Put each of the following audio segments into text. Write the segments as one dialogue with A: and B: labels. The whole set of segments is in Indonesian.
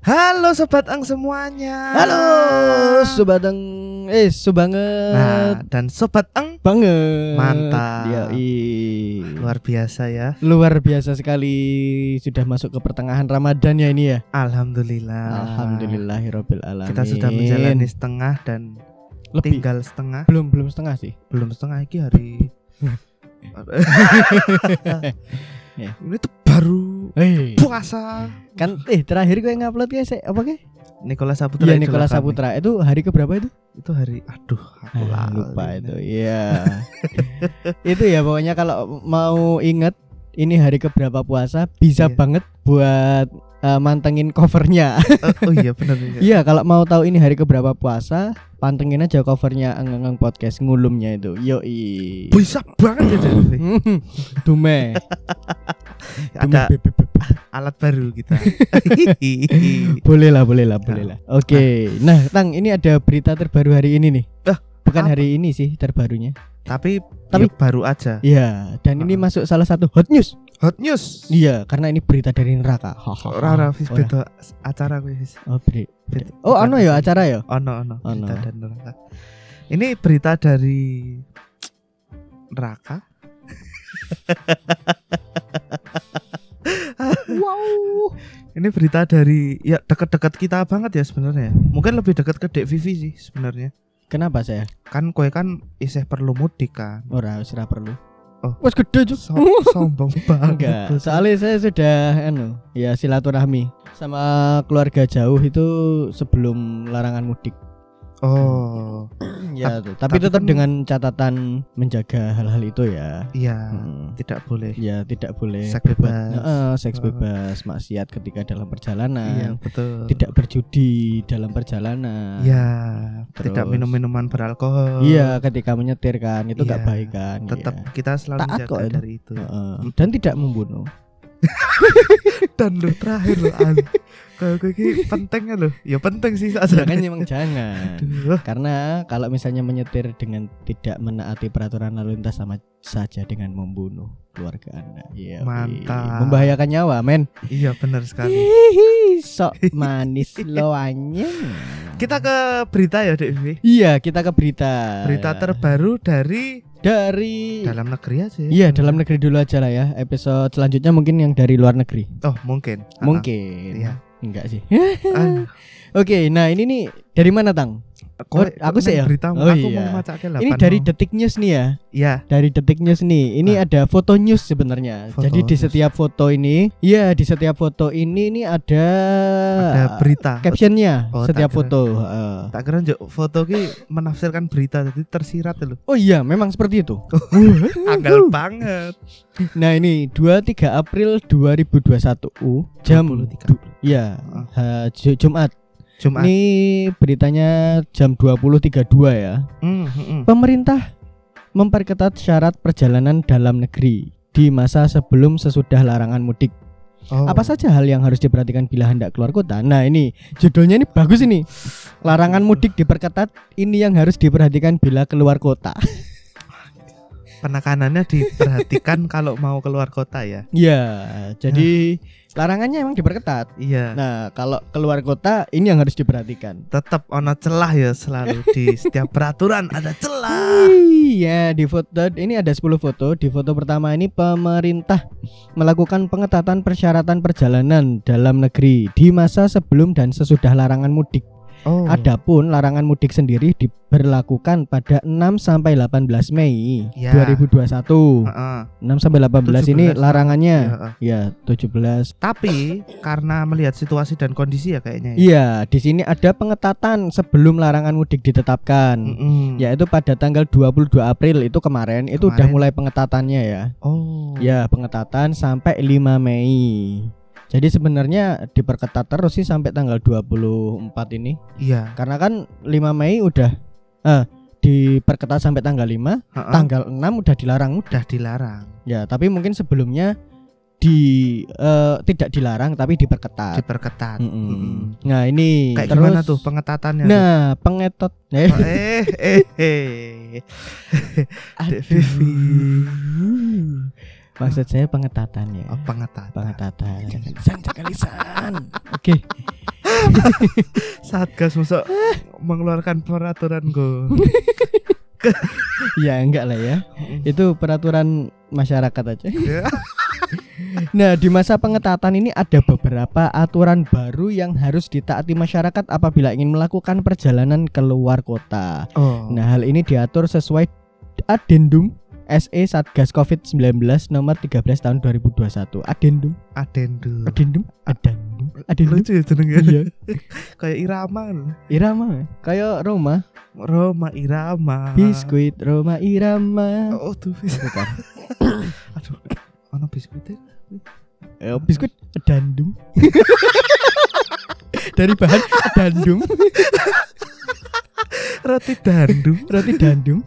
A: Halo sobat Eng semuanya.
B: Halo, subadeng, eh subanget,
A: Nah, dan sobat Eng
B: banget,
A: Mantap.
B: Yoi.
A: luar biasa ya.
B: luar biasa sekali sudah masuk ke pertengahan Ramadan ya ini ya.
A: Alhamdulillah.
B: Alhamdulillahirobbil
A: Nah,
B: alamin.
A: Kita sudah menjalani setengah dan
B: lebih
A: tinggal setengah.
B: belum belum setengah sih.
A: Belum setengah lagi hari.
B: Ya.
A: Ini tuh baru
B: Hei,
A: puasa.
B: Eh, kan eh terakhir gue ngupload ya saya apa ke?
A: Nikola Saputra.
B: Iya
A: Idul
B: Nikola
A: Kami.
B: Saputra itu hari keberapa itu?
A: Itu hari aduh aku
B: Ah,
A: lali
B: lupa
A: nih.
B: itu. Iya. itu ya pokoknya kalau mau inget ini hari keberapa puasa bisa
A: Iya.
B: banget buat eh, mantengin covernya.
A: Eh, oh iya benar iya.
B: Iya, kalau mau tahu ini hari keberapa puasa, pantengin aja covernya Engengeng Podcast ngulumnya itu. Yoi.
A: Bisa banget ya Jadi.
B: Hmm, Dume.
A: Ada
B: Dume, be, be, be, be.
A: alat baru kita.
B: Boleh lah, boleh lah, boleh lah. Oke. Nah, Tang, ini ada berita terbaru hari ini nih.
A: Ah,
B: Bukan
A: apa?
B: hari ini sih terbarunya.
A: Tapi tapi
B: Tapi-
A: baru aja.
B: Iya, dan ini
A: Ah.
B: masuk salah satu hot news.
A: Hot news.
B: Iya, karena ini berita dari neraka. Hahaha.
A: Rara wis
B: Ora.
A: beda acara kuwi wis.
B: Oh, beri-
A: Beda-
B: Oh,
A: bukan
B: ano ya
A: acara.
B: acara ya?
A: Ono ono
B: Ono.
A: berita dan neraka. Ini berita dari neraka.
B: Wow.
A: Ini berita dari ya deket-deket kita banget ya sebenarnya. Mungkin lebih deket ke Dek Vivi sih sebenarnya.
B: Kenapa saya?
A: Kan kowe kan isih perlu mudik kan.
B: Ora, ora perlu.
A: Oh.
B: Wes gede Cuk.
A: So- sombong banget.
B: Enggak, soalnya saya sudah anu, ya silaturahmi sama keluarga jauh itu sebelum larangan mudik.
A: Oh,
B: Ya, tuh. tapi,
A: tapi
B: tetap
A: kan-
B: dengan catatan menjaga hal-hal itu ya.
A: iya,
B: Hmm.
A: tidak boleh.
B: Ya, tidak boleh
A: Seks
B: berbuat-
A: bebas.
B: Heeh, seks
A: Oh.
B: bebas, maksiat ketika dalam
A: Iya,
B: perjalanan,
A: betul.
B: tidak berjudi dalam perjalanan.
A: Iya, tidak
B: Terus.
A: minum-minuman beralkohol.
B: Iya, ketika menyetir kan itu nggak
A: Eh. Iya,
B: baik kan.
A: tetap
B: iya.
A: kita selalu
B: Taat
A: jaga
B: kok itu.
A: dari itu
B: Heeh. dan tidak membunuh.
A: dan lo terakhir lo an kalau gue ki pentingnya lo ya penting sih saja
B: Makanya memang jangan.
A: Aduh,
B: Karena kalau misalnya menyetir dengan tidak menaati peraturan lalu lintas sama saja dengan membunuh keluarga Anda. Iya.
A: Mantap.
B: Membahayakan nyawa, men.
A: iya benar sekali
B: Hihi, sok manis loanya.
A: kita ke berita ya Dek Vivi
B: Iya, kita ke berita.
A: berita terbaru dari
B: dari
A: dalam negeri aja ya.
B: Iya, dalam negeri dulu aja lah ya. Episode selanjutnya mungkin yang dari luar negeri.
A: oh mungkin Ah,
B: Mungkin.
A: Iya.
B: Enggak sih.
A: ah.
B: Oke, nah ini nih dari mana, Tang?
A: Kowe-
B: Oh, aku sih
A: neng
B: ya?
A: beritamu,
B: Oh,
A: aku
B: iya.
A: mau maca ke
B: Ini dari Detik News nih ya.
A: ya
B: dari detik news nih ini ada foto news sebenarnya
A: Nah. Foto
B: jadi di
A: news.
B: setiap foto ini ya di setiap foto ini ini ada, Ah,
A: ada berita
B: captionnya
A: Oh, tak
B: setiap
A: kira.
B: foto Heeh.
A: tak kira njuk foto ki menafsirkan berita jadi tersirat lo
B: oh iya memang seperti itu
A: anggal banget
B: nah ini 23 April 2021 uh, jam
A: 23.
B: ya
A: Heeh.
B: Jumat
A: Ah. Jumat
B: ini beritanya jam 20.32 ya
A: Mm, mm, mm.
B: Pemerintah memperketat syarat perjalanan dalam negeri di masa sebelum sesudah larangan mudik
A: Oh.
B: Apa saja hal yang harus diperhatikan bila hendak keluar kota? Nah, ini judulnya ini bagus ini. Larangan mudik diperketat, ini yang harus diperhatikan bila keluar kota.
A: penekanannya diperhatikan kalau mau keluar kota ya.
B: ya, jadi larangannya emang diperketat.
A: Iya,
B: Nah, kalau keluar kota ini yang harus diperhatikan.
A: tetap ono celah ya selalu di setiap peraturan ada celah.
B: Iya, di foto ini ada 10 foto. Di foto pertama ini pemerintah melakukan pengetatan persyaratan perjalanan dalam negeri di masa sebelum dan sesudah larangan mudik.
A: Oh,
B: Adapun larangan mudik sendiri diberlakukan pada 6 sampai 18 Mei
A: Ya. Ah.
B: 2021. 6 sampai 18 ini
A: 17
B: larangannya ya 17.
A: Tapi karena melihat situasi dan kondisi ya kayaknya. ya.
B: Iya, di sini ada pengetatan sebelum larangan mudik ditetapkan.
A: Mm-mm.
B: Yaitu pada tanggal 22 April itu kemarin itu udah
A: Kemarin.
B: mulai pengetatannya ya.
A: Oh.
B: Ya, pengetatan sampai 5 Mei. Jadi sebenarnya diperketat terus sih sampai tanggal 24 ini.
A: Iya.
B: Karena kan 5 Mei udah eh diperketat sampai tanggal 5,
A: Heeh.
B: tanggal 6 udah dilarang.
A: Udah dilarang,
B: Ya, tapi mungkin sebelumnya di eh, tidak dilarang tapi diperketat.
A: diperketat.
B: Mm-mm.
A: Mm-mm.
B: Nah, ini
A: Hmm. Kayak
B: terus
A: gimana tuh pengetatannya? tuh?
B: Nah, pengetot. Eh,
A: Oh, eh, eh, eh.
B: aduh.
A: Vivi.
B: Eh. Maksud saya pengetatan ya.
A: Oh, pengetatan.
B: Pengetatan. Jangan lisan, jangan lisan. Oke.
A: Satgas masuk
B: Eh.
A: mengeluarkan peraturan go.
B: ya enggak lah ya. Itu peraturan masyarakat aja.
A: Ya.
B: Nah, di masa pengetatan ini ada beberapa aturan baru yang harus ditaati masyarakat apabila ingin melakukan perjalanan keluar kota.
A: Oh.
B: Nah, hal ini diatur sesuai Adendum SE Satgas COVID-19 nomor 13 tahun 2021. Adendum,
A: Adendu.
B: adendum, adendum,
A: Hmm.
B: adendum.
A: Lucu ya jenengnya.
B: Iya,
A: Kayak irama loh.
B: irama. Kayak Roma,
A: Roma irama.
B: biskuit Roma irama.
A: Ah.
B: kan.
A: Oh tuh.
B: Bukan.
A: Aduh. Ono biskuitnya?
B: Eh, biskuit dandum. Dari bahan dandum,
A: Roti dandu.
B: roti dandum,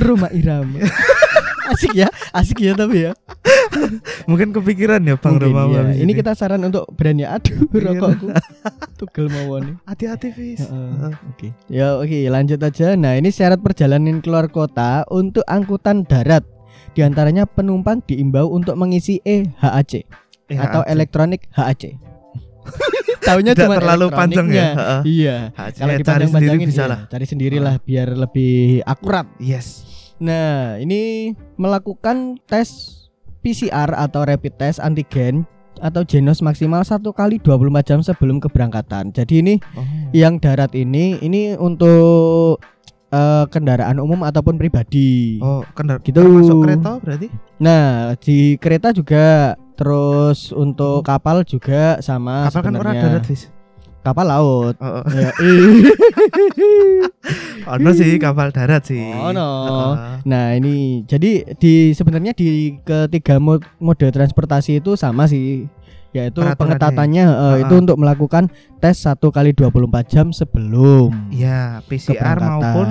B: rumah irama. Asik ya, asik ya tapi ya.
A: Mungkin kepikiran ya Bang
B: Mungkin
A: Roma.
B: ya.
A: habis
B: Ini kita saran untuk brand ya. Aduh,
A: Iya.
B: rokokku tugel mawon.
A: hati-hati Fis.
B: Heeh.
A: Heeh.
B: Oke. Ya oke, lanjut aja. Nah, ini syarat perjalanan keluar kota untuk angkutan darat. Di antaranya penumpang diimbau untuk mengisi E EHAC
A: Eh,
B: atau
A: hati.
B: elektronik HAC. Taunya
A: tidak
B: cuma
A: terlalu panjang ya.
B: elektroniknya.
A: Heeh.
B: Iya.
A: Hati- eh,
B: Kalau
A: cari sendiri
B: dipanjang-panjangin
A: bisa
B: iya,
A: lah. Ah.
B: Cari sendirilah biar lebih akurat.
A: Yes.
B: Nah, ini melakukan tes PCR atau rapid test antigen atau genos maksimal satu kali 24 jam sebelum keberangkatan. Jadi ini
A: Oh.
B: yang darat ini ini untuk eh, kendaraan umum ataupun pribadi.
A: Oh, kendar
B: Gitu.
A: masuk kereta berarti?
B: Nah, di kereta juga terus untuk kapal juga sama
A: Kapal kan orang
B: Ah, sebenarnya.
A: darat, Fis.
B: Kapal laut.
A: Oh, oh.
B: Ya,
A: Ono sih kapal darat sih.
B: Ono.
A: Heeh.
B: Nah ini jadi di sebenarnya di ketiga mo- mode transportasi itu sama sih yaitu
A: Peraturannya.
B: pengetatannya eh,
A: Ha-ha.
B: itu untuk melakukan tes satu kali 24 jam sebelum
A: Iya, PCR
B: keberangkatan.
A: maupun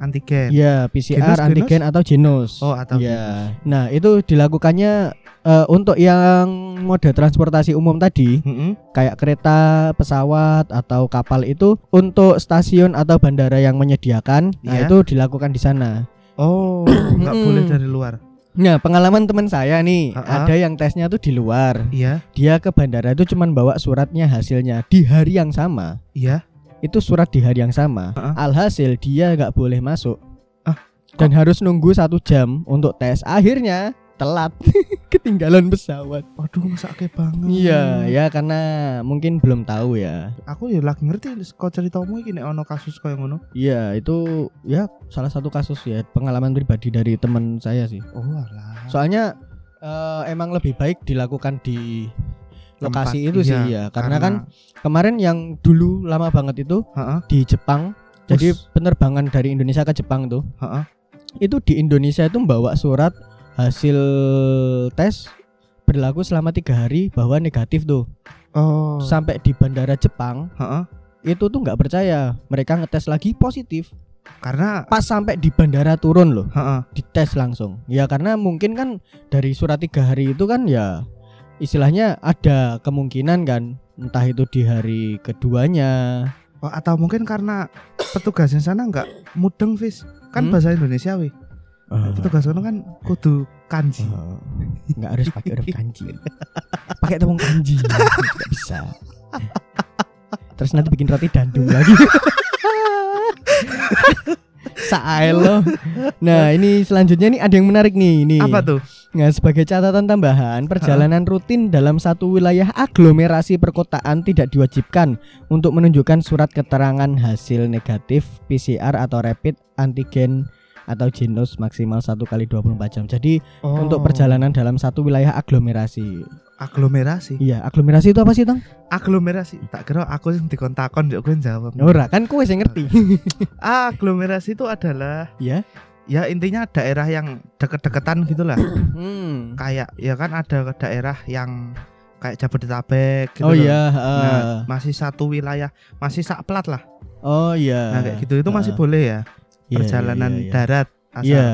A: antigen.
B: ya PCR
A: Genos,
B: antigen atau genos.
A: Oh, atau
B: ya. Nah itu dilakukannya eh, untuk yang mode transportasi umum tadi
A: Heeh.
B: kayak kereta, pesawat atau kapal itu untuk stasiun atau bandara yang menyediakan nah,
A: Iya.
B: itu dilakukan di sana.
A: Oh, nggak
B: Mm-mm.
A: boleh dari luar.
B: Nah, pengalaman teman saya nih,
A: Ha-ha.
B: ada yang tesnya tuh di luar.
A: Iya,
B: Dia ke bandara itu cuman bawa suratnya hasilnya di hari yang sama.
A: iya.
B: Itu surat di hari yang sama.
A: Ha-ha.
B: Alhasil dia nggak boleh masuk.
A: Ah,
B: Dan harus nunggu satu jam untuk tes. Akhirnya telat, ketinggalan pesawat.
A: Waduh, masa akeh banget. Hmm.
B: Iya, ya karena mungkin belum tahu ya.
A: Aku ya lagi ngerti kok ceritamu iki nek ono kasus kaya ngono.
B: Iya, itu ya salah satu kasus ya pengalaman pribadi dari teman saya sih.
A: Oh, alah.
B: Soalnya eh, emang lebih baik dilakukan di
A: Tempat,
B: lokasi itu sih
A: iya,
B: ya karena, kan kemarin yang dulu lama banget itu
A: Heeh.
B: di Jepang.
A: Us.
B: Jadi penerbangan dari Indonesia ke Jepang tuh.
A: Heeh.
B: Itu di Indonesia itu membawa surat hasil tes berlaku selama tiga hari bahwa negatif tuh.
A: Oh.
B: Sampai di bandara Jepang
A: Heeh.
B: itu tuh nggak percaya. Mereka ngetes lagi positif.
A: Karena
B: Pas sampai di bandara turun loh
A: heeh.
B: dites langsung ya karena mungkin kan dari surat tiga hari itu kan ya istilahnya ada kemungkinan kan entah itu di hari keduanya
A: Oh, atau mungkin karena petugasnya sana nggak mudeng, Fis. Kan
B: Hmm? Ah.
A: bahasa Indonesia wih. Petugas ono kan kudu kanji.
B: Eh, nggak harus pakai huruf kanji pakai tepung kanji nggak bisa terus nanti bikin roti dandung lagi Saelo. Nah ini selanjutnya nih ada yang menarik nih. Ini
A: Apa tuh?
B: Nah, sebagai catatan tambahan, perjalanan rutin dalam satu wilayah aglomerasi perkotaan tidak diwajibkan untuk menunjukkan surat keterangan hasil negatif PCR atau rapid antigen atau genos maksimal 1 kali 24 jam. Jadi,
A: Oh,
B: untuk perjalanan dalam satu wilayah aglomerasi.
A: aglomerasi.
B: Iya, aglomerasi itu apa sih, Tang?
A: Aglomerasi. Tak kira aku yang dikontakon yo kowe jawab.
B: Ora, kan kowe sing
A: Nah.
B: ngerti.
A: Aglomerasi itu adalah
B: Ya.
A: Ya intinya daerah yang deket-deketan gitulah.
B: Hmm.
A: kayak ya kan ada daerah yang kayak Jabodetabek gitu.
B: Oh
A: loh.
B: iya,
A: Nah,
B: heeh.
A: masih satu wilayah, masih sakplat lah.
B: Oh iya.
A: Nah, kayak gitu itu masih
B: Ah.
A: boleh ya
B: Iya,
A: perjalanan
B: iya, iya.
A: darat asal.
B: Iya.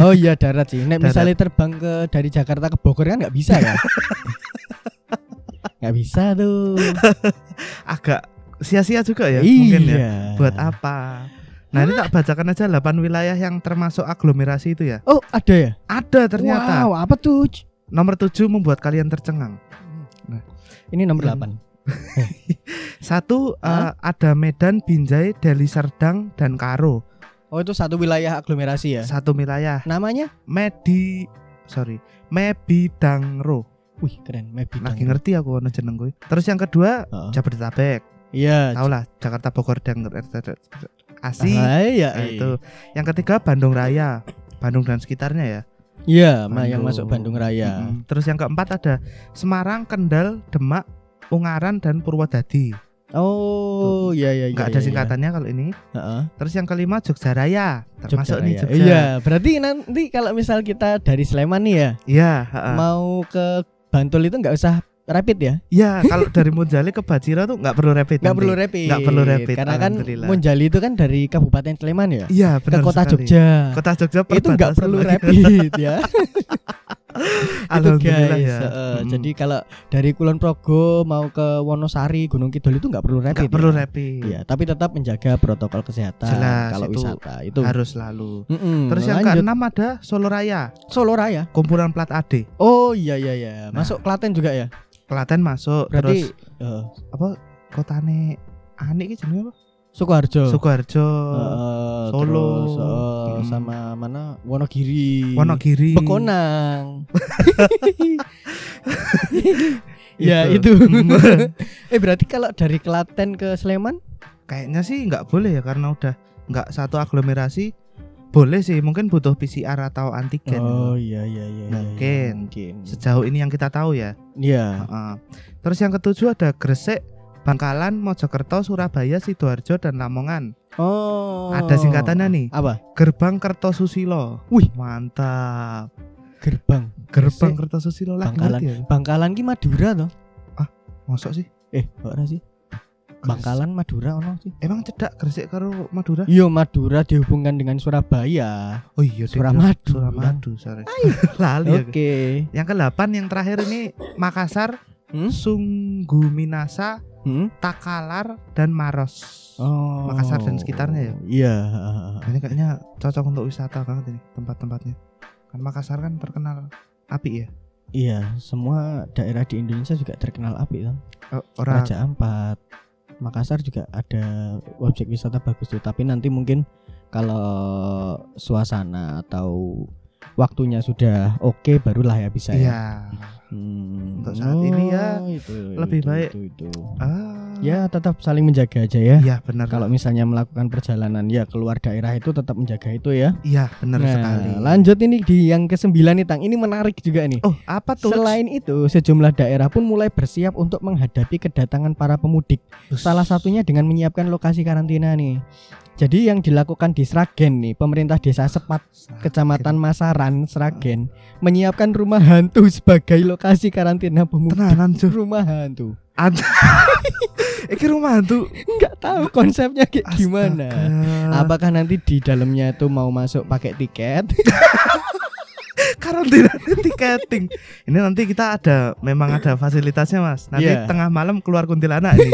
B: Oh iya darat sih. Nek
A: Darat.
B: misalnya terbang ke dari Jakarta ke Bogor kan nggak bisa ya? Nggak bisa tuh.
A: Agak sia-sia juga ya
B: iya.
A: mungkin ya. Buat apa? Nah, ini tak bacakan aja 8 wilayah yang termasuk aglomerasi itu ya.
B: Oh ada ya?
A: Ada ternyata.
B: Wow apa tuh?
A: Nomor 7 membuat kalian tercengang.
B: Ini nomor
A: Hmm.
B: 8
A: Eh Satu eh,
B: Hah?
A: ada Medan, Binjai, Deli Serdang dan Karo.
B: Oh itu satu wilayah aglomerasi ya.
A: Satu wilayah
B: Namanya?
A: Medi sorry Mebidangro.
B: Wih keren. Mebi
A: Lagi
B: Dangro.
A: ngerti aku ono jeneng kuwi. Terus yang kedua
B: Heeh.
A: Jabodetabek.
B: Iya.
A: Tau lah Jakarta Bogor dan Asi.
B: Ah, iya,
A: Nah,
B: iya.
A: itu. Yang ketiga Bandung Raya. Bandung dan sekitarnya ya.
B: Iya, ma-
A: Bandung.
B: yang masuk Bandung Raya.
A: Mm-mm. Terus yang keempat ada Semarang, Kendal, Demak, Ungaran dan Purwodadi.
B: Oh, iya iya iya.
A: Enggak ada singkatannya kalau ini.
B: Heeh.
A: Terus yang kelima Jogja Raya. Termasuk nih Jogja.
B: Iya, berarti nanti kalau misal kita dari Sleman nih ya,
A: Iya, ha-ha.
B: mau ke Bantul itu nggak usah rapid ya?
A: Iya, kalau dari Munjali ke Bajira tuh nggak perlu rapid.
B: Nggak
A: nanti.
B: perlu rapid.
A: Nggak perlu rapid,
B: Karena kan
A: alhamdulillah.
B: Monjali itu kan dari Kabupaten Sleman ya,
A: Iya,
B: ke
A: benar
B: kota
A: sekali.
B: Jogja.
A: Kota Jogja
B: itu nggak
A: perbatasan
B: perlu
A: lagi.
B: rapid ya. itu
A: Alhamdulillah
B: guys.
A: ya.
B: heeh.
A: Mm-mm.
B: Jadi kalau dari Kulon Progo mau ke Wonosari, Gunung Kidul itu nggak perlu rapid.
A: nggak
B: ya.
A: perlu rapid.
B: Iya, tapi tetap menjaga protokol kesehatan
A: Jelas,
B: kalau
A: itu
B: wisata itu.
A: Harus selalu.
B: Mm-mm,
A: Terus yang
B: Hmm, lanjut.
A: keenam ada Solo Raya,
B: Solo Raya.
A: kumpulan plat AD.
B: Oh iya iya iya,
A: Nah.
B: masuk Klaten juga ya.
A: Klaten masuk,
B: Berarti
A: terus
B: eh,
A: apa kotane Anik iki jenenge apa?
B: Sukoharjo.
A: Sukoharjo,
B: Eh,
A: Solo.
B: terus, eh,
A: Mm.
B: sama mana? Wonogiri.
A: Wonogiri,
B: Bekonang. ya itu.
A: Gitu.
B: eh berarti kalau dari Klaten ke Sleman?
A: Kayaknya sih nggak boleh ya karena udah nggak satu aglomerasi. Boleh sih, mungkin butuh PCR atau antigen.
B: Oh iya iya iya. iya, iya,
A: Mungkin.
B: mungkin.
A: Hmm. Sejauh ini yang kita tahu ya.
B: Iya.
A: Heeh. Terus yang ketujuh ada Gresik, Bangkalan, Mojokerto, Surabaya, sidoarjo dan Lamongan.
B: Oh.
A: Ada singkatannya nih,
B: Apa?
A: Gerbang Kertosusilo.
B: Wih.
A: mantap.
B: Gerbang.
A: Gerbang Kertosusilo lah
B: Bangkalan.
A: ngerti ya?
B: Bangkalan ki Madura toh?
A: Mosok sih?
B: Eh, kok ora sih? Bangkalan Madura ono sih.
A: Emang cedak Gresik karo Madura?
B: Iya, Madura dihubungkan dengan Surabaya.
A: Oh iya,
B: Suramadu.
A: Suramadu, sorry. Lali
B: Oke.
A: aku. Yang ke-8 yang terakhir ini Makassar,
B: Hmm?
A: Sungguminasa,
B: Hmm?
A: Takalar dan Maros.
B: Oh.
A: Makassar dan sekitarnya ya?
B: Iya.
A: Ini kayaknya cocok untuk wisata banget ini tempat-tempatnya. Kan Makassar kan terkenal api ya.
B: Iya, semua daerah di Indonesia juga terkenal api kan.
A: Eh, Ora
B: Raja Ampat. Makassar juga ada objek wisata bagus tuh, tapi nanti mungkin kalau suasana atau waktunya sudah oke barulah ya bisa ya.
A: Iya.
B: Hmm. oh,
A: Untuk saat ini ya,
B: itu,
A: lebih
B: itu,
A: baik.
B: itu, itu.
A: Ah.
B: Ya, tetap saling menjaga aja ya.
A: Iya benar.
B: Kalau misalnya melakukan perjalanan ya keluar daerah itu tetap menjaga itu ya.
A: iya benar
B: Nah,
A: sekali.
B: lanjut ini di yang kesembilan nih Tang. Ini menarik juga nih.
A: Oh, apa tuh?
B: Selain itu, sejumlah daerah pun mulai bersiap untuk menghadapi kedatangan para pemudik.
A: Us.
B: Salah satunya dengan menyiapkan lokasi karantina nih. Jadi yang dilakukan di Sragen nih, pemerintah desa Sepat,
A: Sakit.
B: kecamatan Masaran, Sragen, menyiapkan rumah hantu sebagai lokasi karantina pemudik.
A: tenanan cuy.
B: Rumah hantu.
A: Ada. Iki rumah hantu.
B: Nggak tahu konsepnya kayak gimana.
A: Astaga.
B: Apakah nanti di dalamnya itu mau masuk pakai tiket?
A: Karantina tiketing. Ini nanti kita ada memang ada fasilitasnya, Mas. Nanti
B: Iya.
A: tengah malam keluar kuntilanak ini.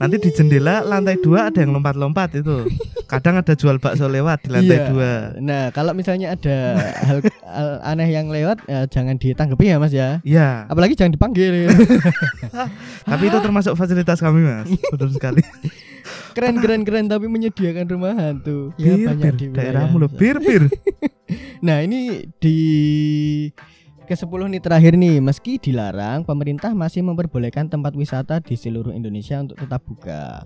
A: nanti di jendela lantai dua ada yang lompat-lompat itu. Kadang ada jual bakso lewat di lantai
B: Iya.
A: dua.
B: Nah, kalau misalnya ada hal, hal aneh yang lewat eh, jangan ditanggapi ya, Mas ya.
A: Iya.
B: Apalagi jangan dipanggil.
A: Tapi itu termasuk fasilitas kami, Mas.
B: Iya.
A: Betul sekali.
B: keren keren keren tapi menyediakan rumah hantu. Ya,
A: Bir,
B: banyak
A: bir.
B: di wilayah.
A: Iya, Daerahmu loh, bir, bir.
B: Nah, ini di ke 10 nih terakhir nih, meski dilarang, pemerintah masih memperbolehkan tempat wisata di seluruh Indonesia untuk tetap buka.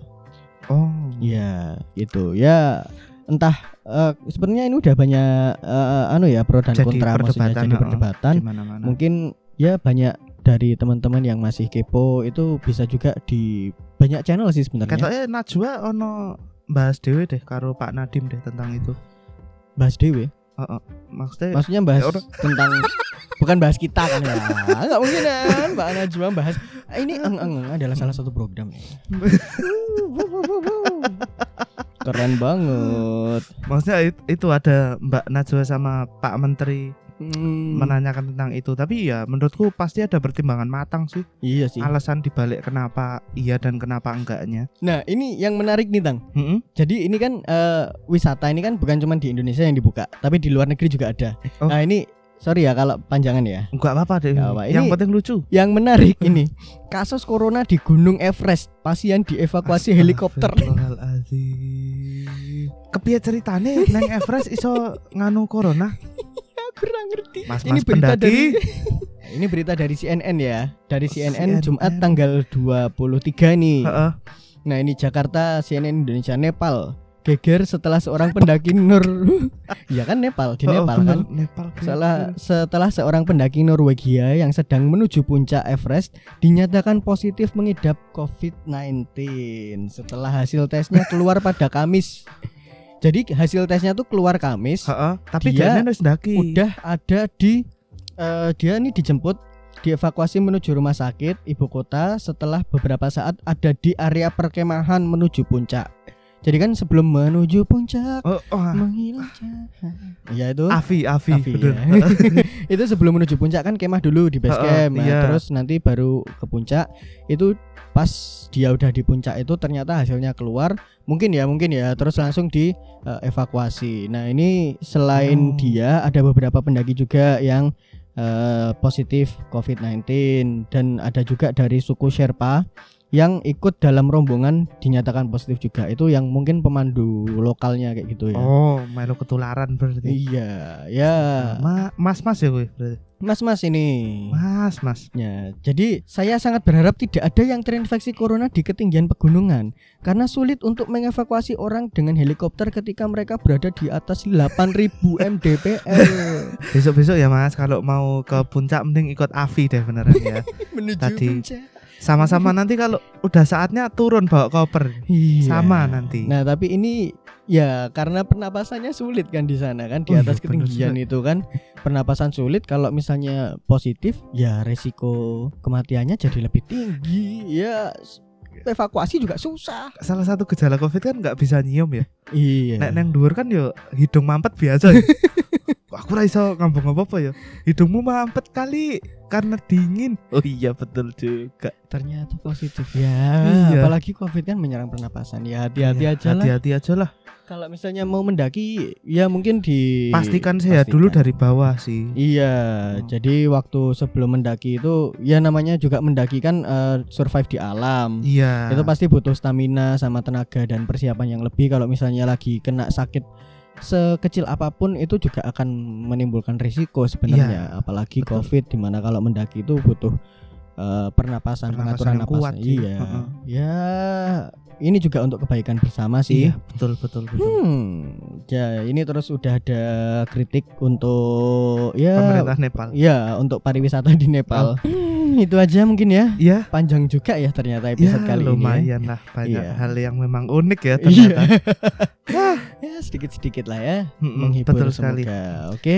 A: Oh.
B: Ya, gitu. Ya, entah eh, sebenarnya ini udah banyak eh, anu ya pro dan
A: Jadi
B: kontra maksudnya
A: perdebatan,
B: jadi
A: heeh.
B: perdebatan.
A: Di mana-mana.
B: Kan? Mungkin ya banyak dari teman-teman yang masih kepo itu bisa juga di banyak channel sih sebenarnya.
A: Katanya eh, Najwa ono bahas dewe deh karo Pak Nadim deh tentang itu.
B: Bahas dewe.
A: Maksudnya
B: Maksudnya bahas
A: Eh, ya udah.
B: tentang bukan bahas kita kan ya. Enggak mungkin kan Mbak Najwa bahas "Ah, ini eng eng eng adalah salah satu program ya. Keren banget.
A: maksudnya it- itu ada Mbak Najwa sama Pak Menteri
B: Hmm,
A: menanyakan tentang itu. Tapi ya menurutku pasti ada pertimbangan matang sih.
B: iya sih.
A: Alasan dibalik kenapa iya dan kenapa enggaknya.
B: Nah, ini yang menarik nih, Tang.
A: Mm-mm.
B: Jadi ini kan eh, wisata ini kan bukan cuma di Indonesia yang dibuka, tapi di luar negeri juga ada.
A: Oh.
B: Nah ini Sorry ya kalau panjangan ya.
A: Enggak apa-apa deh.
B: Nggak apa,
A: Yang
B: ini-
A: penting lucu.
B: Yang menarik ini, kasus corona di Gunung Everest, pasien dievakuasi helikopter.
A: Astagfirullahaladzim. Kepiye ceritane nang Everest iso nganu corona?
B: Kurang ngerti.
A: Mas
B: ini
A: mas
B: berita dari
A: pendaki. Oh,
B: ini berita dari CNN ya. Dari CNN,
A: CNN.
B: Jumat tanggal 23 nih.
A: Heeh.
B: Nah, ini Jakarta, CNN Indonesia Nepal. Geger setelah seorang pendaki Nur. ya kan Nepal, di
A: Heeh,
B: Nepal
A: Oh, bener.
B: kan.
A: Nepal.
B: Setelah, setelah seorang pendaki Norwegia yang sedang menuju puncak Everest dinyatakan positif mengidap COVID-19 setelah hasil tesnya keluar pada Kamis. Jadi hasil tesnya tuh keluar Kamis,
A: Heeh, tapi
B: Dia
A: dia harus daki.
B: udah ada di eh, dia nih dijemput dievakuasi menuju rumah sakit ibu kota setelah beberapa saat ada di area perkemahan menuju puncak. Jadi kan sebelum menuju puncak
A: Oh, oh, ah.
B: menghilang cahaya. Ya itu.
A: Avi, Avi,
B: Avi,
A: bener.
B: ya. itu sebelum menuju puncak kan kemah dulu di base
A: Heeh,
B: camp nah,
A: iya.
B: terus nanti baru ke puncak itu pas dia udah di puncak itu ternyata hasilnya keluar mungkin ya mungkin ya terus langsung di eh, evakuasi nah ini
A: Oh.
B: selain dia ada beberapa pendaki juga yang eh, positif COVID-19 dan ada juga dari suku Sherpa yang ikut dalam rombongan dinyatakan positif juga itu yang mungkin pemandu lokalnya kayak gitu ya
A: Oh, melu ketularan berarti.
B: iya Iya. ya
A: Ma- mas-mas ya gue berarti.
B: mas-mas ini
A: Mas, mas.
B: Ya, jadi saya sangat berharap tidak ada yang terinfeksi corona di ketinggian pegunungan karena sulit untuk mengevakuasi orang dengan helikopter ketika mereka berada di atas 8000 mdpl
A: Besok-besok ya Mas, kalau mau ke puncak mending ikut Avi deh beneran ya.
B: menuju
A: Tadi.
B: puncak.
A: Sama-sama nanti kalau udah saatnya turun bawa koper.
B: Iya.
A: Sama nanti.
B: Nah, tapi ini ya karena pernapasannya sulit kan di sana kan di
A: Oh iya,
B: atas
A: bener
B: ketinggian
A: juga.
B: itu kan pernapasan sulit kalau misalnya positif ya resiko kematiannya jadi lebih tinggi ya s- evakuasi juga susah.
A: Salah satu gejala Covid kan nggak bisa nyium ya.
B: Iya.
A: Nek neng dhuwur kan yo hidung mampet biasa ya. Aku ra iso ngomong apa-apa ya. Hidungmu mampet kali karena dingin. Oh iya betul juga.
B: ternyata positif ya
A: Iya.
B: apalagi covid kan menyerang pernapasan ya hati-hati
A: Iya,
B: aja lah
A: Hati-hati aja lah.
B: kalau misalnya mau mendaki ya mungkin di
A: Iya, Pastikan sehat dulu
B: pastikan.
A: dari bawah sih.
B: iya
A: Hmm.
B: jadi waktu sebelum mendaki itu ya namanya juga mendaki kan eh, survive di alam
A: Iya.
B: itu pasti butuh stamina sama tenaga dan persiapan yang lebih kalau misalnya lagi kena sakit sekecil apapun itu juga akan menimbulkan risiko sebenarnya apalagi
A: Iya, betul.
B: covid dimana kalau mendaki itu butuh eh,
A: Pernapasan
B: pernapasan, pengaturan
A: yang
B: napas
A: kuat sih.
B: iya
A: Heeh.
B: ya ini juga untuk kebaikan bersama sih
A: Iya, betul betul betul.
B: hmm ya ini terus udah ada kritik untuk ya
A: Pemerintah Nepal.
B: ya untuk pariwisata di Nepal Hmm, itu aja mungkin ya
A: Iya.
B: panjang juga ya ternyata episode kali ini ya.
A: lumayan lah banyak
B: Iya.
A: hal yang memang unik ya ternyata.
B: Iya. ya sedikit-sedikit lah ya
A: Mm-mm,
B: menghibur
A: Hmm, betul
B: semoga.
A: sekali.
B: Oke.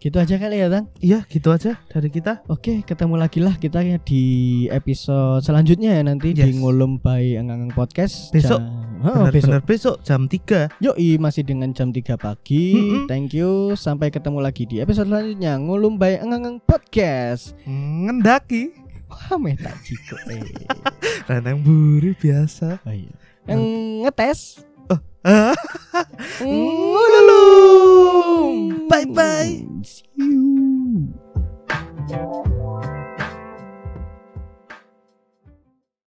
B: Gitu aja kali ya, Tang.
A: Iya, gitu aja dari kita.
B: Oke, ketemu lagi lah kita ya di episode selanjutnya ya nanti di
A: Yes.
B: Ngulum by Engang Podcast.
A: Besok.
B: Jam- Oh, besok.
A: Benar-benar besok. jam 3.
B: Yoi, masih dengan jam 3 pagi.
A: Mm-mm.
B: Thank you. Sampai ketemu lagi di episode selanjutnya Ngulum by Engang Podcast.
A: Ngendaki.
B: Wah, meh tak jiko. eh.
A: Ranang buri biasa.
B: Oh, iya. Ngetes.
A: Hah?
B: Ngetes.